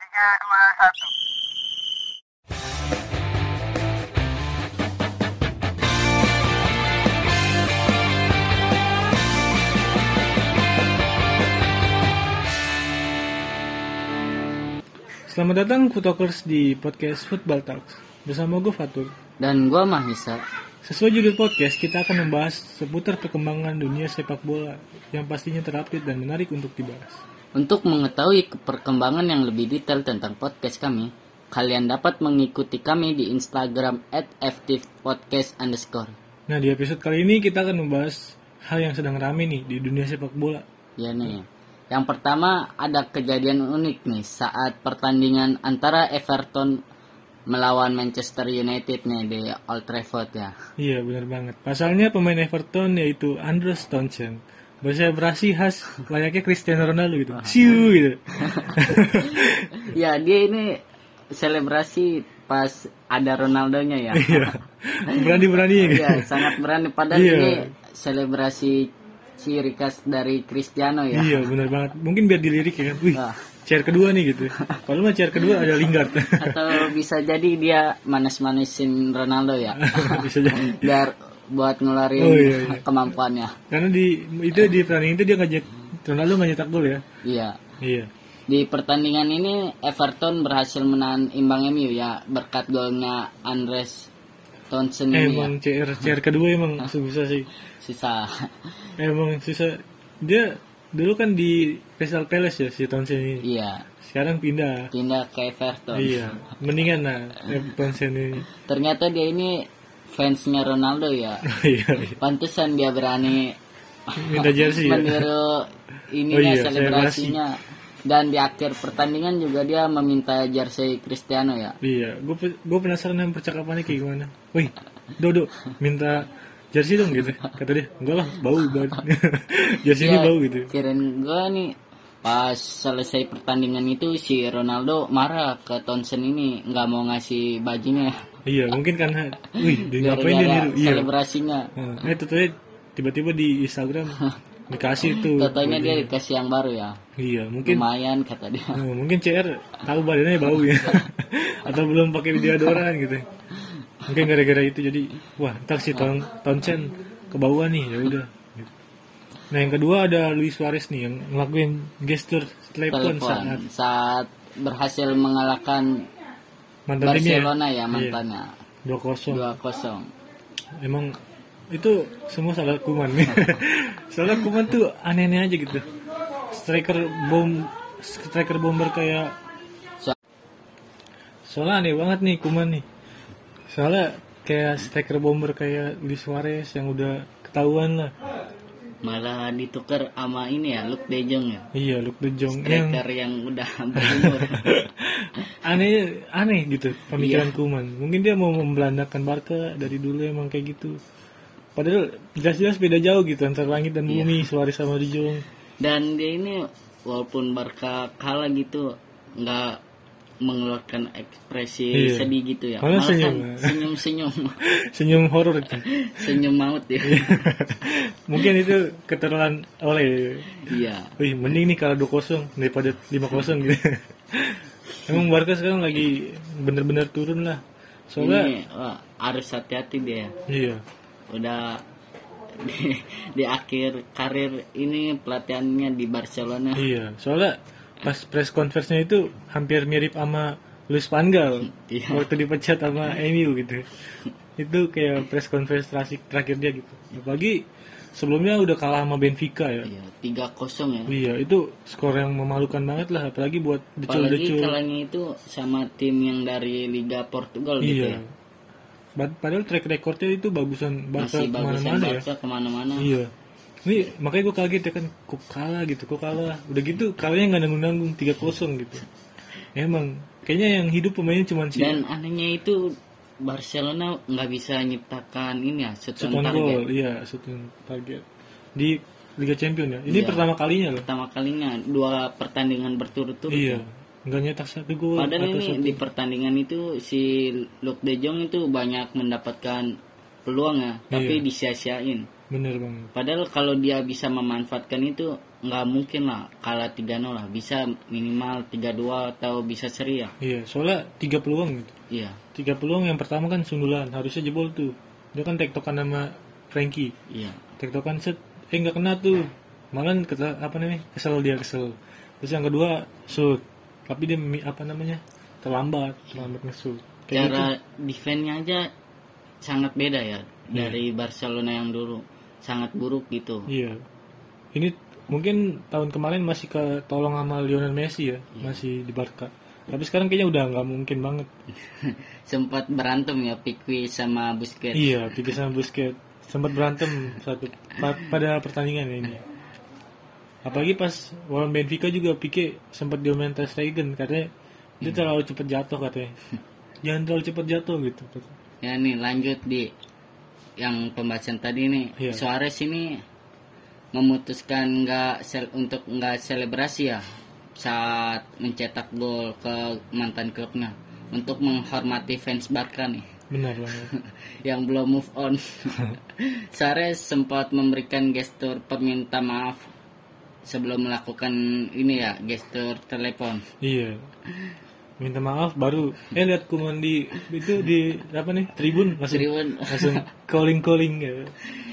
tiga dua satu Selamat datang Futokers di podcast Football Talks bersama gue Fatur. Dan gue Mahisa. Sesuai judul podcast, kita akan membahas seputar perkembangan dunia sepak bola yang pastinya terupdate dan menarik untuk dibahas. Untuk mengetahui ke- perkembangan yang lebih detail tentang podcast kami, kalian dapat mengikuti kami di Instagram at ftpodcast underscore. Nah, di episode kali ini kita akan membahas hal yang sedang rame nih di dunia sepak bola. Ya nih. Yang pertama ada kejadian unik nih saat pertandingan antara Everton melawan Manchester United nih di Old Trafford ya. Iya, benar banget. Pasalnya pemain Everton yaitu Andrew Townsend berselebrasi khas layaknya Cristiano Ronaldo gitu. Siu gitu. ya dia ini selebrasi pas ada Ronaldonya ya. Iya. Berani-beraninya gitu. Iya, sangat berani. Padahal Iya. ini selebrasi ciri khas dari Cristiano ya. Iya, benar banget. Mungkin biar dilirik ya. Wih, Ah. chair kedua nih gitu. Kalau mah chair kedua ada Lingard. Atau bisa jadi dia manas-manisin Ronaldo ya. Bisa jadi. Biar buat ngeluarin Oh, iya, iya. kemampuannya. Karena di itu di pertandingan itu dia ngajak Ronaldo nggak nyetak gol ya. Iya. Iya. Di pertandingan ini Everton berhasil menahan imbang MU ya berkat golnya Andres Townsend ini ya. Eh, Emang CR CR kedua emang susah sih. Sisa. Emang susah. Dia dulu kan di Crystal Palace ya si Townsend ini. iya. Sekarang pindah. Pindah ke Everton. Iya. Mendingan nah eh, Townsend ini. Ternyata dia ini fansnya Ronaldo ya. Iya. iya. Pantesan dia berani Minta jersey ya. meniru ini Oh iya, selebrasinya. Dan di akhir pertandingan juga dia meminta jersey Cristiano ya. Iya. Gue gue penasaran sama percakapannya kayak gimana. Wih, Dodo minta jersey dong gitu. Kata dia, enggak lah, bau banget. jersey ini Ya, bau gitu. Kirain gue nih pas selesai pertandingan itu si Ronaldo marah ke Townsend ini nggak mau ngasih bajunya. ya. Iya, mungkin karena, wih, dia ngapain dia Gara-gara niru? Iya, selebrasinya. Nah, eh tentunya tiba-tiba di Instagram dikasih tuh. Totonya dia dikasih yang baru ya. Iya, Oh, mungkin Lumayan kata dia. eh, mungkin CR tahu badannya bau ya. Atau belum pakai deodoran gitu. Mungkin gara-gara itu jadi wah, ntar si Ton Tonsen kebauan nih, ya udah. Gitu. Nah, yang kedua ada Luis Suarez nih yang ngelakuin gestur telepon saat Telepon saat berhasil mengalahkan mantan timnya Barcelona ya mantannya Iya. 2-0. 2-0. Emang itu semua salah Kuman. salah Kuman tuh aneh-aneh aja gitu. Striker bom striker bomber kayak So- soalnya aneh banget nih Kuman nih. Soalnya kayak striker bomber kayak Luis Suarez yang udah ketahuan lah. malah ditukar sama ini ya Luke De Jong ya Iya, Luke De Jong yang striker yang udah berumur aneh aneh gitu pemikiran Kuman. Mungkin dia mau membelandakan Barca dari dulu emang kayak gitu. Padahal jelas-jelas beda jauh gitu antara langit dan bumi Suarez sama De Jong. dan dia ini walaupun Barca kalah gitu nggak mengeluarkan ekspresi Iya. sedih gitu ya Malah senyum. senyum senyum senyum horor itu senyum maut ya Iya. mungkin itu keterulan oleh iya wih mending nih kalau 2-0 daripada 5-0 gitu emang Barca sekarang lagi bener-bener turun lah soalnya ini wah, harus hati-hati dia iya udah di, di akhir karir ini pelatihannya di Barcelona iya soalnya pas press conference-nya itu hampir mirip sama Luis Panggal Iya. waktu dipecat sama MU gitu itu kayak press conference terasi- terakhir dia gitu apalagi sebelumnya udah kalah sama Benfica ya iya tiga kosong ya Iya, itu skor yang memalukan banget lah, apalagi buat Apalagi decul-decul. kalahnya itu sama tim yang dari Liga Portugal gitu ya. Iya. Ba- Padahal track recordnya itu bagusan Barca Masih bagusan kemana-mana ya. Barca kemana-mana. Iya. Ini makanya gue kaget ya kan, kok kalah gitu, kok kalah. Udah gitu, kalahnya nggak nanggung-nanggung, 3-0 gitu. Emang, kayaknya yang hidup pemainnya cuma si Dan anehnya itu Barcelona nggak bisa nyiptakan ini ya shoot on Suton target. Gol. Iya, Suton Target. Di Liga Champion ya. Ini Iya. pertama kalinya loh. Pertama kalinya dua pertandingan berturut-turut. Iya. Nggak nyetak satu gol Padahal atau ini satu. di pertandingan itu si Luke De Jong itu banyak mendapatkan Iya. peluang ya, tapi disia-siain. Bener banget. Padahal kalau dia bisa memanfaatkan itu nggak mungkin lah kalah 3-0 lah bisa minimal 3-2 atau bisa seri ya Iya, soalnya tiga peluang gitu. iya Tiga peluang yang pertama kan sundulan, harusnya jebol tuh. Dia kan tektokan sama Frankie. iya Tektokan set, eh nggak kena tuh. Malah kata apa namanya? Kesel dia kesel. Terus yang kedua, shoot. Tapi dia mi- apa namanya? terlambat, terlambat nge-shoot. Kayak gitu. Iya. cara defense-nya aja sangat beda ya dari Barcelona yang dulu sangat buruk gitu Iya. Ini mungkin tahun kemarin masih ketolong sama Lionel Messi ya, masih di Barca. Tapi sekarang kayaknya udah nggak mungkin banget. sempat berantem ya Piqui sama Busquets Iya, Piqué sama Busquets sempat berantem satu pa- pada pertandingan ini. Apalagi pas lawan Benfica juga Piqué sempat diomelin Ter Stegen katanya dia terlalu cepat jatuh katanya. Jangan terlalu cepat jatuh gitu. ya nih lanjut di yang pembahasan tadi nih Iya. Suarez ini memutuskan nggak sel- untuk nggak selebrasi ya saat mencetak gol ke mantan klubnya untuk menghormati fans Barca nih Benar banget. yang belum move on. Suarez sempat memberikan gestur perminta maaf sebelum melakukan ini ya gestur telepon. Iya. Minta maaf baru eh lihat kuman di itu di apa nih tribun langsung Tribun. langsung calling calling gitu.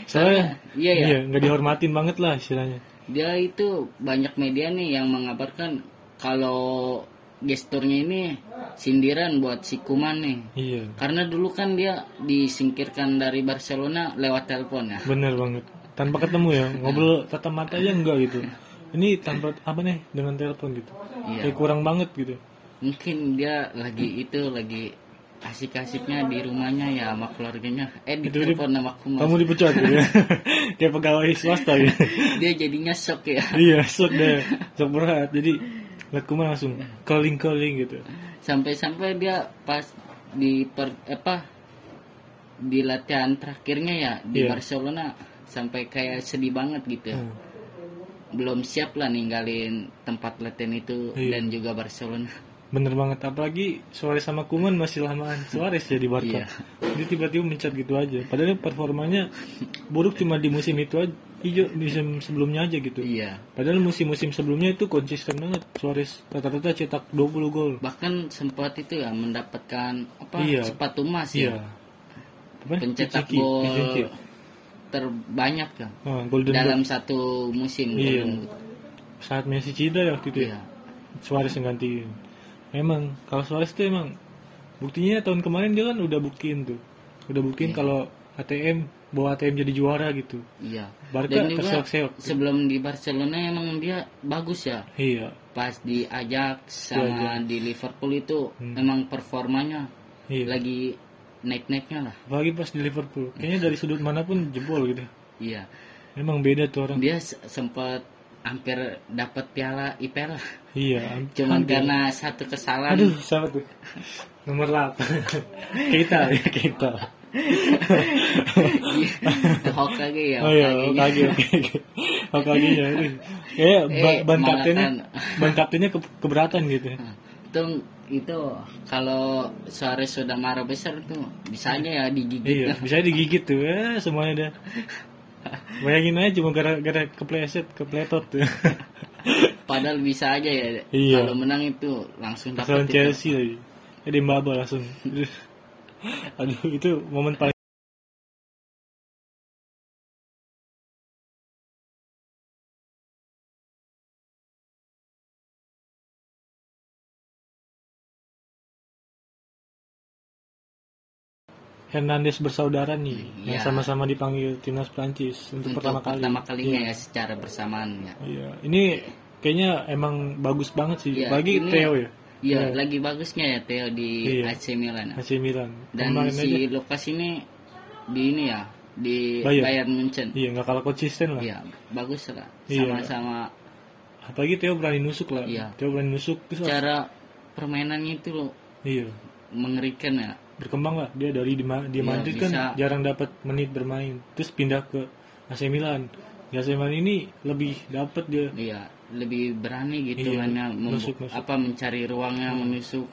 Soalnya Iya, iya. nggak dihormatin banget lah istilahnya. Dia itu banyak media nih yang mengabarkan kalau gesturnya ini sindiran buat si Kuman nih. Iya, Karena dulu kan dia disingkirkan dari Barcelona lewat telepon ya. bener banget. Tanpa ketemu ya ngobrol tatap mata aja enggak gitu. Ini tanpa apa nih dengan telepon gitu. Iya. Kayak kurang banget gitu. Mungkin dia lagi itu lagi asik-asiknya di rumahnya ya sama keluarganya. Eh di Itu dia- telepon sama Kuman. Kamu dipecat gitu ya. Kayak pegawai swasta gitu. dia jadinya shock ya iya, sok deh. Sok berat. Jadi lihat kuman langsung calling calling gitu. sampai-sampai dia pas di per, apa di latihan terakhirnya ya di Iya. Barcelona sampai kayak sedih banget gitu ya. Hmm. belum siap lah ninggalin tempat latihan itu Iya. dan juga Barcelona Bener banget, apalagi Suarez sama Kuman masih lamaan Suarez ya di Barca. Iya. Dia tiba-tiba mencat gitu aja. Padahal performanya buruk cuma di musim itu aja, ijo, musim sebelumnya aja gitu. iya Padahal musim-musim sebelumnya itu konsisten banget. Suarez rata-rata cetak 20 gol. bahkan sempat itu ya mendapatkan apa Iya. sepatu emas Iya. ya Apa? pencetak Pichichi, gol Pichichi. terbanyak ya Ah, golden dalam Boot. satu musim gitu. Iya. Golden Boot. Saat Messi cedera ya waktu itu ya. iya Suarez yang gantiin. Emang kalau Suarez tuh emang buktinya tahun kemarin dia kan udah buktiin tuh. Udah buktiin kalau ATM bawa ATM jadi juara gitu. iya Barca Dan juga terseok-seok. sebelum di Barcelona emang dia bagus ya Iya, pas di Ajax sama di Liverpool itu emang performanya Hmm. iya. lagi naik-naiknya lah Apalagi pas di Liverpool, kayaknya dari sudut manapun jebol gitu. iya Memang beda tuh orang. dia se- sempat hampir dapat piala IPL lah. Iya, am- hampir. cuman karena satu kesalahan Aduh, siapa tuh? Nomor 8 Kita, ya kita. hoax lagi ya Oh iya, Hokage-nya. Hokage, Hokage. Hokage-nya, aduh. Kayaknya ban, Eh, ban kaptennya, malahan. ban kaptennya ke- keberatan gitu. Nah, itu itu kalau Suarez sudah marah besar tuh bisa aja ya digigit Iya, bisa digigit tuh, ya, semuanya dah. Bayangin aja cuma gara-gara kepleset, kepletot tuh. padahal bisa aja ya Iya. kalau menang itu langsung Kesalahan dapat itu. Chelsea lagi. Jadi Mbaba langsung. Aduh. Aduh, itu momen paling Hernandez bersaudara nih yang Iya. sama-sama dipanggil timnas Prancis untuk, untuk pertama Iya. kali. kalinya ya secara bersamaan ya. Iya, ini kayaknya emang bagus banget sih. Iya, Bagi ini- Theo ya, Iya, lagi bagusnya ya Theo di Iya. AC Milan. ya. AC Milan. Dan Kemarin aja si Lukas ini di ini ya, di Bayern. Bayern Munchen. Iya nggak kalah konsisten lah. Iya, bagus lah. Iya. Sama-sama Apalagi Theo berani nusuk lah. Iya. Theo berani nusuk terus lah. cara permainannya itu loh Iya. mengerikan ya. Berkembang lah dia dari di, Ma- di Iya, Madrid kan bisa. jarang dapat menit bermain. Terus pindah ke AC Milan. Di AC Milan ini lebih dapat dia. Iya, lebih berani gitu Iya, mainnya, membu- nusuk-nusuk. apa mencari ruangnya menusuk.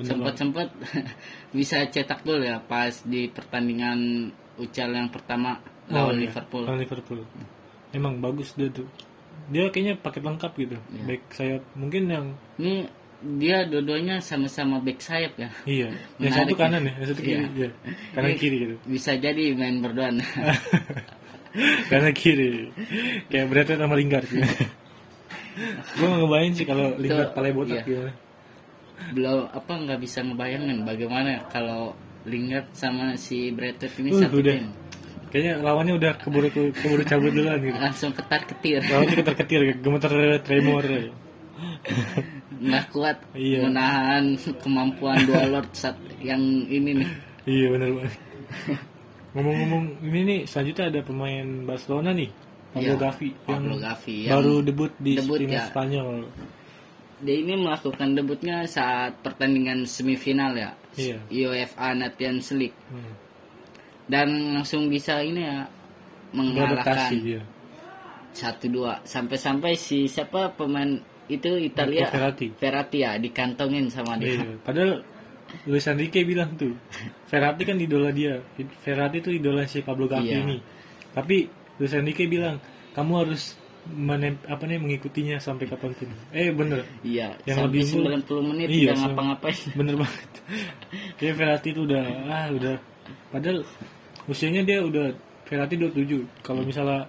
Sempat-sempat bisa cetak gol ya pas di pertandingan Ucal yang pertama Oh, lawan iya. Liverpool. Lawan Liverpool. Emang bagus dia tuh. dia kayaknya paket lengkap gitu Iya. back sayap mungkin yang Ini dia dua-duanya sama-sama back sayap ya. iya yang satu Menarik ya. kanan ya yang satu kiri iya. kanan Ini kiri gitu Bisa jadi main berduaan. kanan kiri kayak Bradley sama Lingard gitu gue nggak ngebayangin sih kalau Lingard Itu, palai botak gitu. iya. gimana Belum apa nggak bisa ngebayangin bagaimana kalau Lingard sama si Bradford ini Uh, satu udah. tim. kayaknya lawannya udah keburu keburu cabut duluan gitu Langsung ketar ketir. lawannya ketar-ketir gemeter tremor nggak kuat Iya. menahan kemampuan dua lord saat yang ini nih iya benar banget ngomong-ngomong ini nih selanjutnya ada pemain Barcelona nih Pablo Iya, Gavi yang Pablo Gavi yang baru debut di debut, tim ya. Spanyol dia ini melakukan debutnya saat pertandingan semifinal ya Iya. UEFA Nations League hmm. dan langsung bisa ini ya beradaptasi mengalahkan dia satu dua sampai-sampai si siapa pemain itu Italia Marco Verratti. Verratti ya dikantongin sama dia Iya, padahal Luis Enrique bilang tuh, Ferrati kan idola dia. Ferrati tuh idola si Pablo Gavi Iya. ini. Tapi Luis Enrique bilang, kamu harus menem, apa nih mengikutinya sampai kapanpun. Eh bener, iya Yang lebih sampai mul- 90 menit Iya, nggak sam- ngapa-ngapain bener banget. Kayak Ferrati tuh udah, ah udah. Padahal usianya dia udah Ferrati 27. Hmm. Kalau misalnya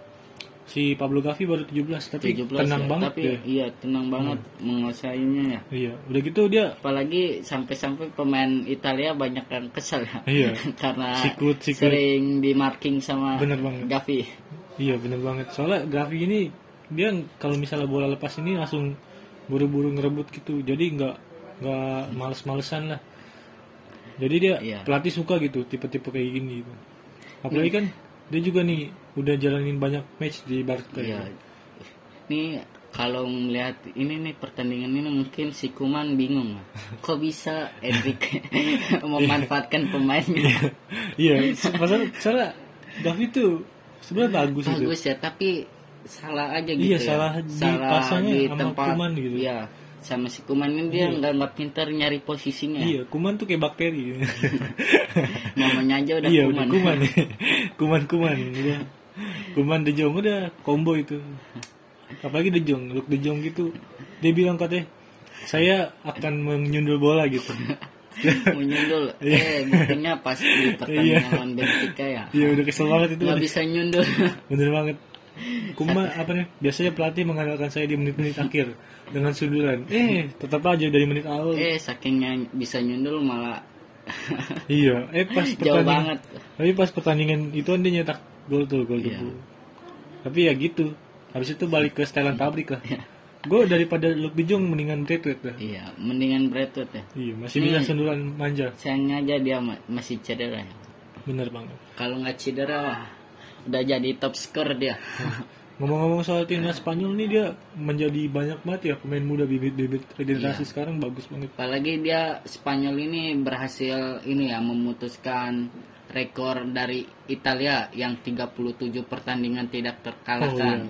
si Pablo Gavi baru 17, tapi 17 tenang ya, banget tapi dia. Hmm. iya tenang banget menguasainya ya Iya, udah gitu dia apalagi sampai-sampai pemain Italia banyak yang kesel ya Iya. karena Sikut, sikut. sering di marking sama bener banget. Gavi Iya bener banget. Soalnya Gavi ini dia kalau misalnya bola lepas ini langsung buru-buru ngerebut gitu. Jadi nggak nggak males-malesan lah. Jadi dia Iya. pelatih suka gitu tipe-tipe kayak gini gitu. Apalagi kan dia juga nih udah jalanin banyak match di Barca. gitu. iya ini kalau melihat ini nih pertandingan ini mungkin si Kuman bingung lah. kok bisa Enrique memanfaatkan pemainnya Iya, se- masalah- soalnya Gavi tuh sebenarnya bagus, gitu. bagus ya tapi salah aja gitu Iya, ya. salah dipasangnya di sama tempat Kuman gitu. iya sama si Kuman ini dia nggak nggak pintar nyari posisinya Iya, kuman tuh kayak bakteri. namanya aja udah iya, Kuman udah kuman. Kuman-kuman udah. Kuman De Jong udah combo itu. Apalagi De Jong, Luke De Jong gitu. Dia bilang katanya, "Saya akan menyundul bola gitu." menyundul eh buktinya pas di pertandingan lawan Benfica ya Iya, udah kesel banget itu. nggak bisa nyundul Bener banget. Kuma apa nih? Biasanya pelatih mengandalkan saya di menit-menit akhir dengan sundulan. Eh, tetap aja dari menit awal. eh sakingnya bisa nyundul malah Iya, eh pas jauh pertandingan banget Tapi pas pertandingan itu kan dia nyetak gol tuh, gol Iya. debu. Tapi ya gitu. Habis itu balik ke Iya. setelan pabrik lah. Gue daripada Luke De Jong mendingan Braithwaite dah. iya mendingan Bradwood ya Iya, masih bisa Hmm. sundulan manja. sayangnya aja dia ma- masih cedera ya Bener banget. kalau nggak cedera wah, udah jadi top skor dia Ngomong-ngomong soal timnas Spanyol nih dia menjadi banyak banget ya pemain muda bibit-bibit Iya. regenerasi sekarang bagus banget. apalagi dia Spanyol ini berhasil ini ya memutuskan rekor dari Italia yang 37 pertandingan Oh tidak iya. terkalahkan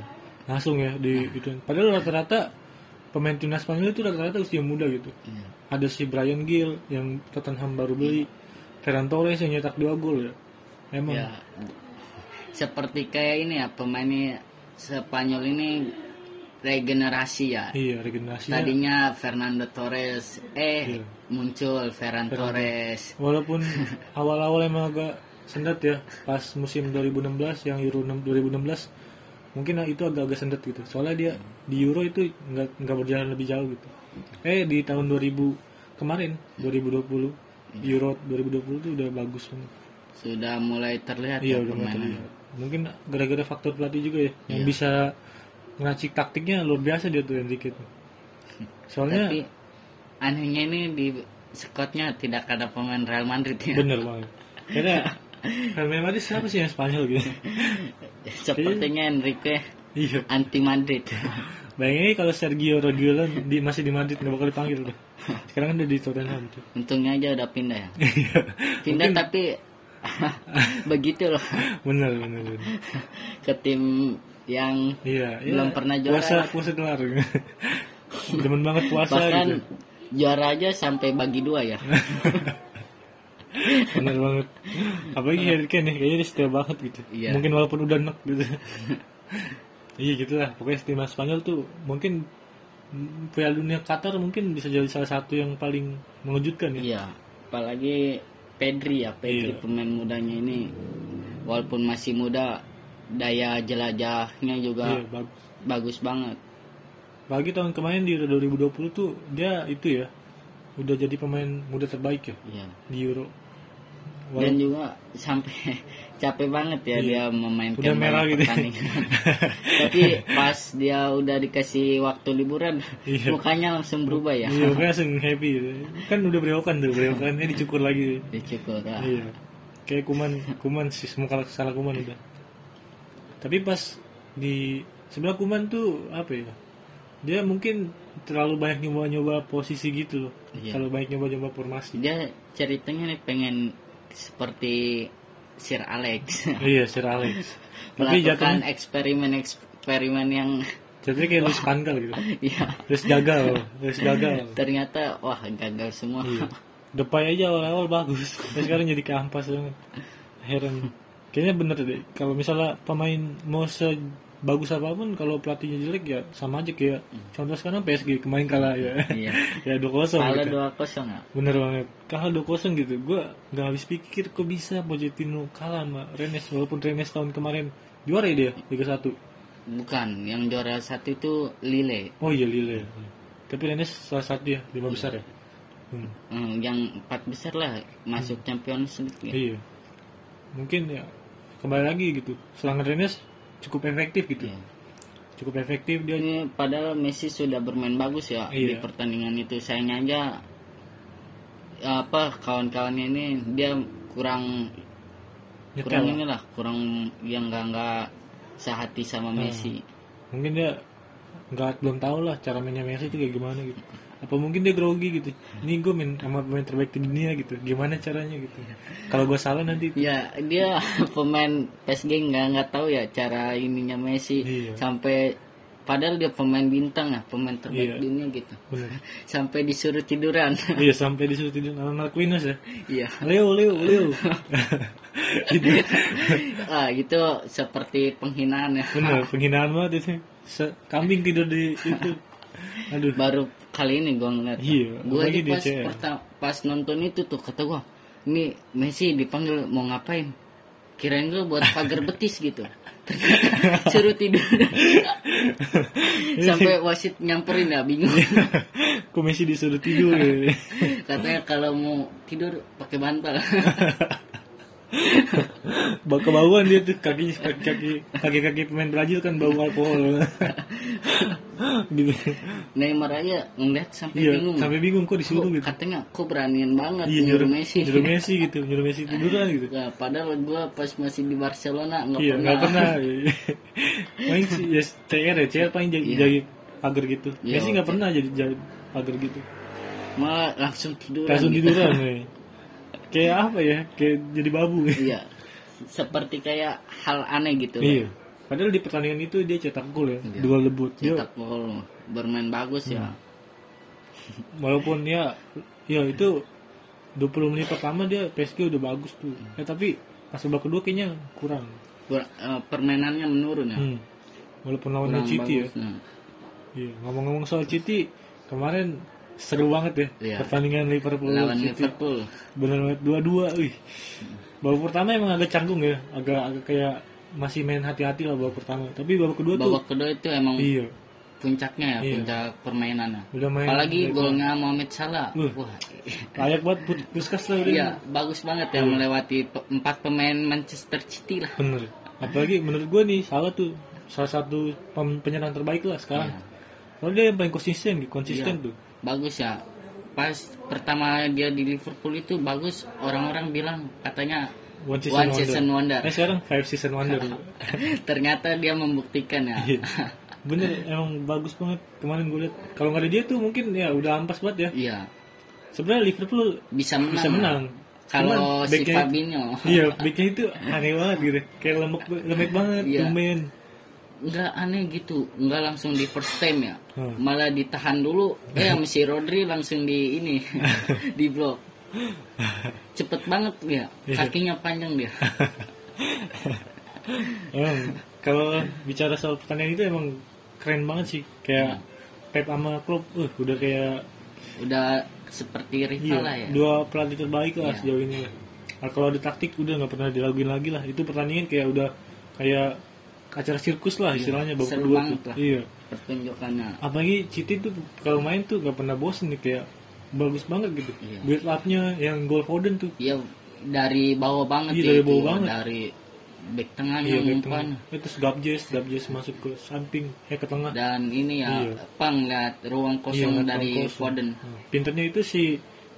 Langsung ya di itu. Padahal rata-rata pemain timnas Spanyol itu rata-rata usia muda gitu. Iya. ada si Brian Gill yang Tottenham baru beli Ferran Torres yang nyetak dua gol ya emang ya seperti kayak ini ya pemain Spanyol ini regenerasi ya iya regenerasinya tadinya Fernando Torres eh Iya. muncul Ferran Torres walaupun awal-awal emang agak sendat ya pas musim 2016 yang Euro 6 2016 mungkin itu agak-agak sendat gitu soalnya dia di Euro itu nggak nggak berjalan lebih jauh gitu eh di tahun 2000 kemarin 2020 Euro 2020 itu udah bagus banget sudah mulai terlihat Iya ya udah mulai permainan. Iya. terlihat. Mungkin gara-gara faktor pelatih juga ya, yang bisa ngeracik taktiknya luar biasa dia tuh Enrique tuh. Soalnya tapi anehnya ini di Scottnya tidak ada pemain Real Madrid ya bener banget. Karena Real Madrid siapa sih yang Spanyol gitu? sepertinya Enrique iya. anti Madrid Bayangin aja kalau Sergio Rodiola di, masih di Madrid nggak bakal dipanggil tuh. Sekarang kan udah di Tottenham tuh. untungnya aja udah pindah ya Iya. pindah tapi begitu loh bener bener. bener. ke tim yang Iya. iya. Belum pernah juara. Puasa puasa kelar. gitu. Demen banget puasa bahkan gitu. juara aja sampai bagi dua ya Bener banget. Apalagi Harry Kane ya, kayaknya dia setia banget gitu. Iya. Mungkin walaupun udah nek gitu. Iya gitulah. Pokoknya timnas Spanyol tuh mungkin mm, Piala Dunia Qatar mungkin bisa jadi salah satu yang paling mengejutkan ya. Iya, apalagi Pedri ya, Pedri Iya. pemain mudanya ini walaupun masih muda daya jelajahnya juga Iya, bag- bagus banget. Apalagi tahun kemarin di Euro 2020 tuh dia itu ya udah jadi pemain muda terbaik ya Iya. di Euro. Wal- Dan juga sampai capek banget ya Iya. dia memainkan Udah merah banyak gitu. pertandingan. Tapi pas dia udah dikasih waktu liburan, Iya. mukanya langsung berubah ya. Iya, pokoknya langsung happy gitu. Kan udah berewokan tuh, berewokannya dicukur lagi. Dicukur. ah. Iya. Kayak kuman, kuman sih semua kalah salah kuman udah. Tapi pas di sebelah kuman tuh apa ya? Dia mungkin terlalu banyak nyoba-nyoba posisi gitu loh. Iya. Terlalu banyak nyoba-nyoba formasi. Dia ceritanya nih pengen seperti Sir Alex. iya, Sir Alex. Tapi melakukan jatuhnya, eksperimen eksperimen yang jatuhnya kayak Luis Pangal gitu. ya Terus gagal, terus gagal. ternyata wah gagal semua Iya. Depay aja awal-awal bagus. Tapi sekarang jadi kampas banget. Heran. Kayaknya bener deh. Kalau misalnya pemain mau sebagus apapun, kalau pelatihnya jelek ya sama aja kayak contoh sekarang PSG kemarin kalah ya. iya ya 2-0 kalau gitu. dua kosong ya Bener banget. Kalah 2-0 gitu. Gua nggak habis pikir kok bisa Pochettino kalah sama Rennes walaupun Rennes tahun kemarin juara ya dia Liga 1. bukan yang juara satu itu Lille Oh iya Lille. Tapi Rennes salah satu ya, lima besar ya. Hmm. Hmm, yang empat besar lah masuk Champions League ya. Iya. Mungkin ya kembali lagi gitu. Serangan Rennes cukup efektif gitu. Iya. Cukup efektif dia. ini Iya, padahal Messi sudah bermain bagus ya di Iya. pertandingan itu sayangnya aja apa kawan-kawannya ini dia kurang kurang Nyetel. inilah kurang yang nggak nggak sehati sama Hmm. Messi Mungkin dia nggak belum tahu lah cara mainnya Messi itu kayak gimana gitu. Apa mungkin dia grogi gitu. Ini gue main sama pemain terbaik di dunia gitu. Gimana caranya gitu. Kalau gue salah nanti Ya dia pemain PSG nggak nggak tahu ya cara ininya Messi Iya. sampai padahal dia pemain bintang ya pemain Iya. terbaik dunia gitu bener. sampai disuruh tiduran iya sampai disuruh tidur sama Marquinhos ya. iya Leo, Leo, Leo. gitu. ah itu seperti penghinaan ya Bener, penghinaan banget itu. Se- kambing tidur di itu. Aduh. baru kali ini gue ngeliat Iya, gue apalagi di pas CL. perta- pas nonton itu tuh kata gue ini Messi dipanggil mau ngapain kirain gue buat pagar betis gitu Ternyata suruh tidur sampai wasit nyamperin ya bingung Kok Messi disuruh tidur ya? Katanya kalau mau tidur pakai bantal. Bau kebauan dia tuh kaki kaki kaki kaki pemain Brazil kan bau alkohol gitu Neymar aja ngeliat sampai iya bingung. sampai bingung kok disuruh Kok gitu Katanya kok beranian banget iya nyuruh nyuruh Messi. nyuruh Messi gitu nyuruh Messi tiduran gitu Nah, padahal gua pas masih di Barcelona nggak iya pernah. nggak pernah main sih ya CR ya CR paling jadi jadi pagar gitu Iya, Messi nggak pernah jadi jadi pagar gitu Malah langsung tiduran. langsung gitu. tiduran ya. kayak apa ya kayak jadi babu Iya. Seperti kayak hal aneh gitu. loh. iya padahal di pertandingan itu dia cetak gol ya dua debut dia Iya. Cetak gol bermain bagus ya. Hmm. walaupun ya ya itu 20 menit pertama dia PSG udah bagus tuh ya Hmm. tapi pas babak kedua kayaknya kurang Ber- eh, permainannya menurun ya. hmm. walaupun lawannya Kurang City ya bagus, nah. Iya, ngomong-ngomong soal City kemarin seru banget ya Iya. pertandingan Liverpool Oh, Lawan City Liverpool. Hmm. bener banget dua-dua wih babak pertama emang agak canggung ya agak agak kayak masih main hati-hati lah babak pertama tapi babak kedua tuh Babak kedua itu emang iya puncaknya ya, Iya. puncak permainannya. udah main Apalagi udah- golnya Mohamed Salah. Wah. Wah, layak banget Pus- puskas lah udah iya bagus banget ya melewati pe- empat pemain Manchester City lah. Bener. Apalagi menurut gue nih salah tuh salah satu pem- penyerang terbaik lah sekarang. Iya. Kalau dia yang paling konsisten, gitu, konsisten tuh. Bagus ya. Pas pertama dia di Liverpool itu bagus orang-orang bilang katanya One season one wonder. season wonder. Eh sekarang five season wonder. Ternyata dia membuktikan ya. Iya. Bener, emang bagus banget kemarin gue liat. Kalau nggak ada dia tuh mungkin ya udah ampas banget ya. Iya, Sebenarnya Liverpool bisa menang. bisa menang. Kalau Cuman si backnya- Fabinho Iya, backnya itu aneh banget gitu. Kayak lemek, lemek banget, Iya. tumen. nggak aneh gitu, nggak langsung di first time ya. Hmm. Malah ditahan dulu, eh sama si Rodri langsung di ini, di blok. Cepet banget dia, Iya. kakinya panjang dia. Emang kalau bicara soal pertandingan itu emang keren banget sih kayak Hmm. Pep sama Klopp uh, udah kayak udah seperti iya, rival lah ya dua pelatih terbaik lah Iya. sejauh ini nah, kalau ada taktik udah nggak pernah dilaguin lagi lah itu pertandingan kayak udah kayak acara sirkus lah istilahnya babak Iya, seru kedua banget tuh. lah. iya pertunjukannya apalagi Citi tuh kalau main tuh nggak pernah bosen nih kayak bagus banget gitu Iya. build upnya yang gol Foden tuh ya dari bawah banget Iya, ya dari itu. bawah banget. dari back tengah iya back yang umpan tengah itu Gabjes Gabjes masuk ke samping eh ke tengah dan ini ya Iya. apa ngeliat ruang Iya, kosong nggak dari terlalu kosong. Foden Nah, pinternya itu si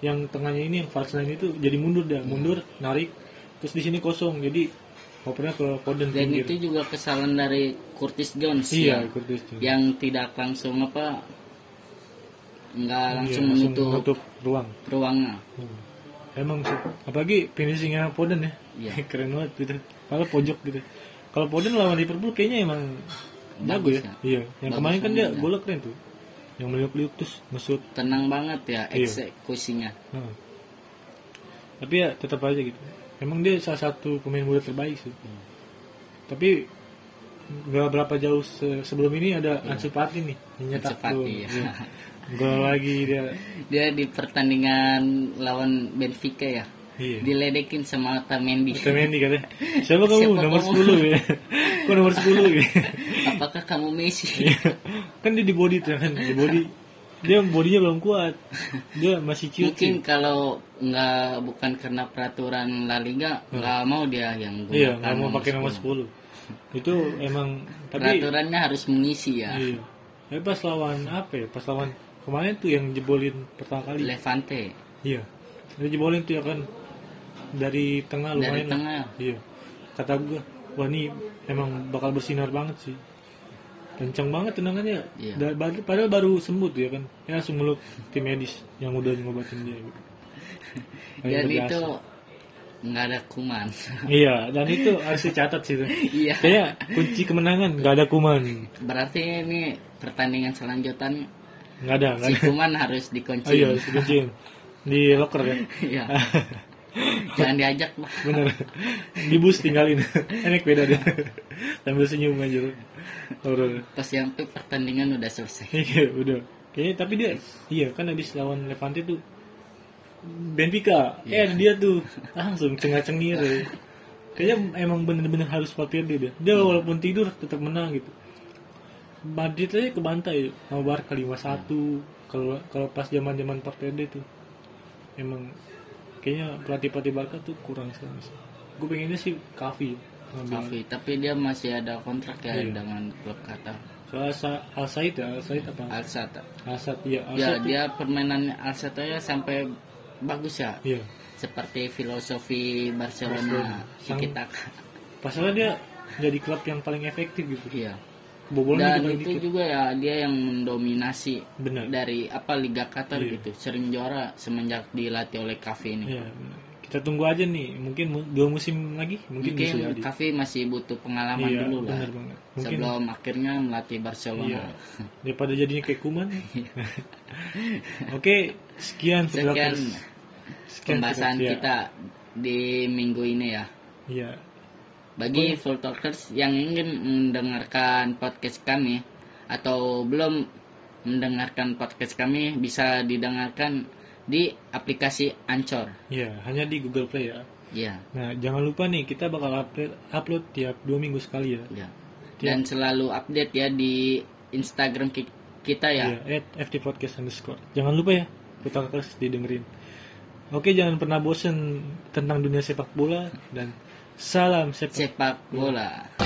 yang tengahnya ini yang Falsnain itu jadi mundur dah, mundur, narik, terus di sini kosong. Jadi opernya ke Foden dan pinggir. itu juga kesalahan dari Curtis Jones iya, ya, Curtis Jones. Iya, yang tidak langsung apa nggak langsung menutup Iya, menutup ruang. ruangnya Hmm. Emang sih, apalagi finishingnya Foden ya. Iya. Keren banget gitu. Kalau pojok gitu. Kalau Foden lawan Liverpool kayaknya emang jago Bagus ya. Iya, yang Bagus kemarin kan dia banget, ya. golnya keren tuh. Yang meliuk-liuk terus ngesut tenang banget ya Iya. eksekusinya Nah. Tapi ya tetap aja gitu. Emang dia salah satu pemain muda terbaik sih. Hmm. Tapi nggak berapa jauh se- sebelum ini ada Iya. Ansu Fati nih yang nyetak Ansu Fati, gol. ya. Iya. Gol lagi dia. dia di pertandingan lawan Benfica ya Iya. diledekin sama Otamendi Otamendi katanya. Siapa kamu? Siapa nomor kamu?" 10 ya. Kok nomor 10 ya? apakah kamu Messi Iya. kan dia di body tuh kan, di body. Dia bodinya belum kuat. Dia masih mungkin ciut. kalau nggak bukan karena peraturan La Liga nggak mau dia yang gunakan Iya, nggak mau nomor pakai nomor 10. Itu emang tapi peraturannya harus mengisi ya Iya. Tapi pas lawan apa ya? Pas lawan kemarin tuh yang jebolin pertama kali. Levante Iya. Yang jebolin tuh ya kan dari tengah dari lumayan. lah. tengah Iya. Kata gua, wah ini emang bakal bersinar banget sih. Kencang banget tendangannya. Iya. Da- bad- Padahal baru sembuh tuh ya kan. Ya langsung meluk tim medis yang udah ngobatin dia. Gitu. Kayak dan udah Iya, itu biasa. nggak ada kuman Iya, dan itu harus dicatat sih tuh. iya Kayaknya kunci kemenangan nggak ada kuman. berarti ini pertandingan selanjutan Nggak ada, nggak si ada. kuman harus Oh iya, dikunci si kucing. Di locker ya. iya jangan diajak lah bener di bus tinggalin enak beda deh sambil senyum aja lu horor pas yang tuh pertandingan udah selesai iya udah kayaknya tapi dia iya kan habis lawan Levante tuh Benfica eh dia tuh langsung cengah cengir ya. kayaknya emang bener-bener harus Valverde dia dia walaupun tidur tetap menang gitu Madrid aja kebantai sama Barca 5-1 kalau kalau pas zaman zaman Valverde tuh emang kayaknya pelatih pelatih Barca tuh kurang sekali sih gue pengennya sih Kavi Kavi tapi dia masih ada kontrak ya Iya. dengan klub Qatar soal Sa- Al Said ya Al Said apa Al Sadd Al Said ya Al ya Said tuh- dia permainan Al Sadd aja sampai bagus ya iya seperti filosofi Barcelona Sang- kita pasalnya dia jadi klub yang paling efektif gitu iya kebobolan dan juga paling itu dikit juga ya dia yang mendominasi benar dari apa Liga Qatar Iya. gitu sering juara semenjak dilatih oleh Kavi ini Iya, benar. kita tunggu aja nih mungkin mu- dua musim lagi mungkin, bisa mungkin jadi Kavi masih butuh pengalaman iya dulu lah benar banget mungkin sebelum akhirnya melatih Barcelona Iya. daripada jadinya kayak kuman oke sekian Iya. sekian Federators. sekian pembahasan Federators, ya. kita di minggu ini ya Iya, Bagi full talkers yang ingin mendengarkan podcast kami atau belum mendengarkan podcast kami bisa didengarkan di aplikasi Anchor. iya hanya di Google Play ya. Ya, Nah, jangan lupa nih kita bakal upload upload tiap dua minggu sekali ya. ya. Iya. Dan selalu update ya di Instagram ki- kita ya. Iya, at FT Podcast underscore. Jangan lupa ya, kita terus didengerin. Oke, jangan pernah bosen tentang dunia sepak bola dan salam sepak. Sepak bola.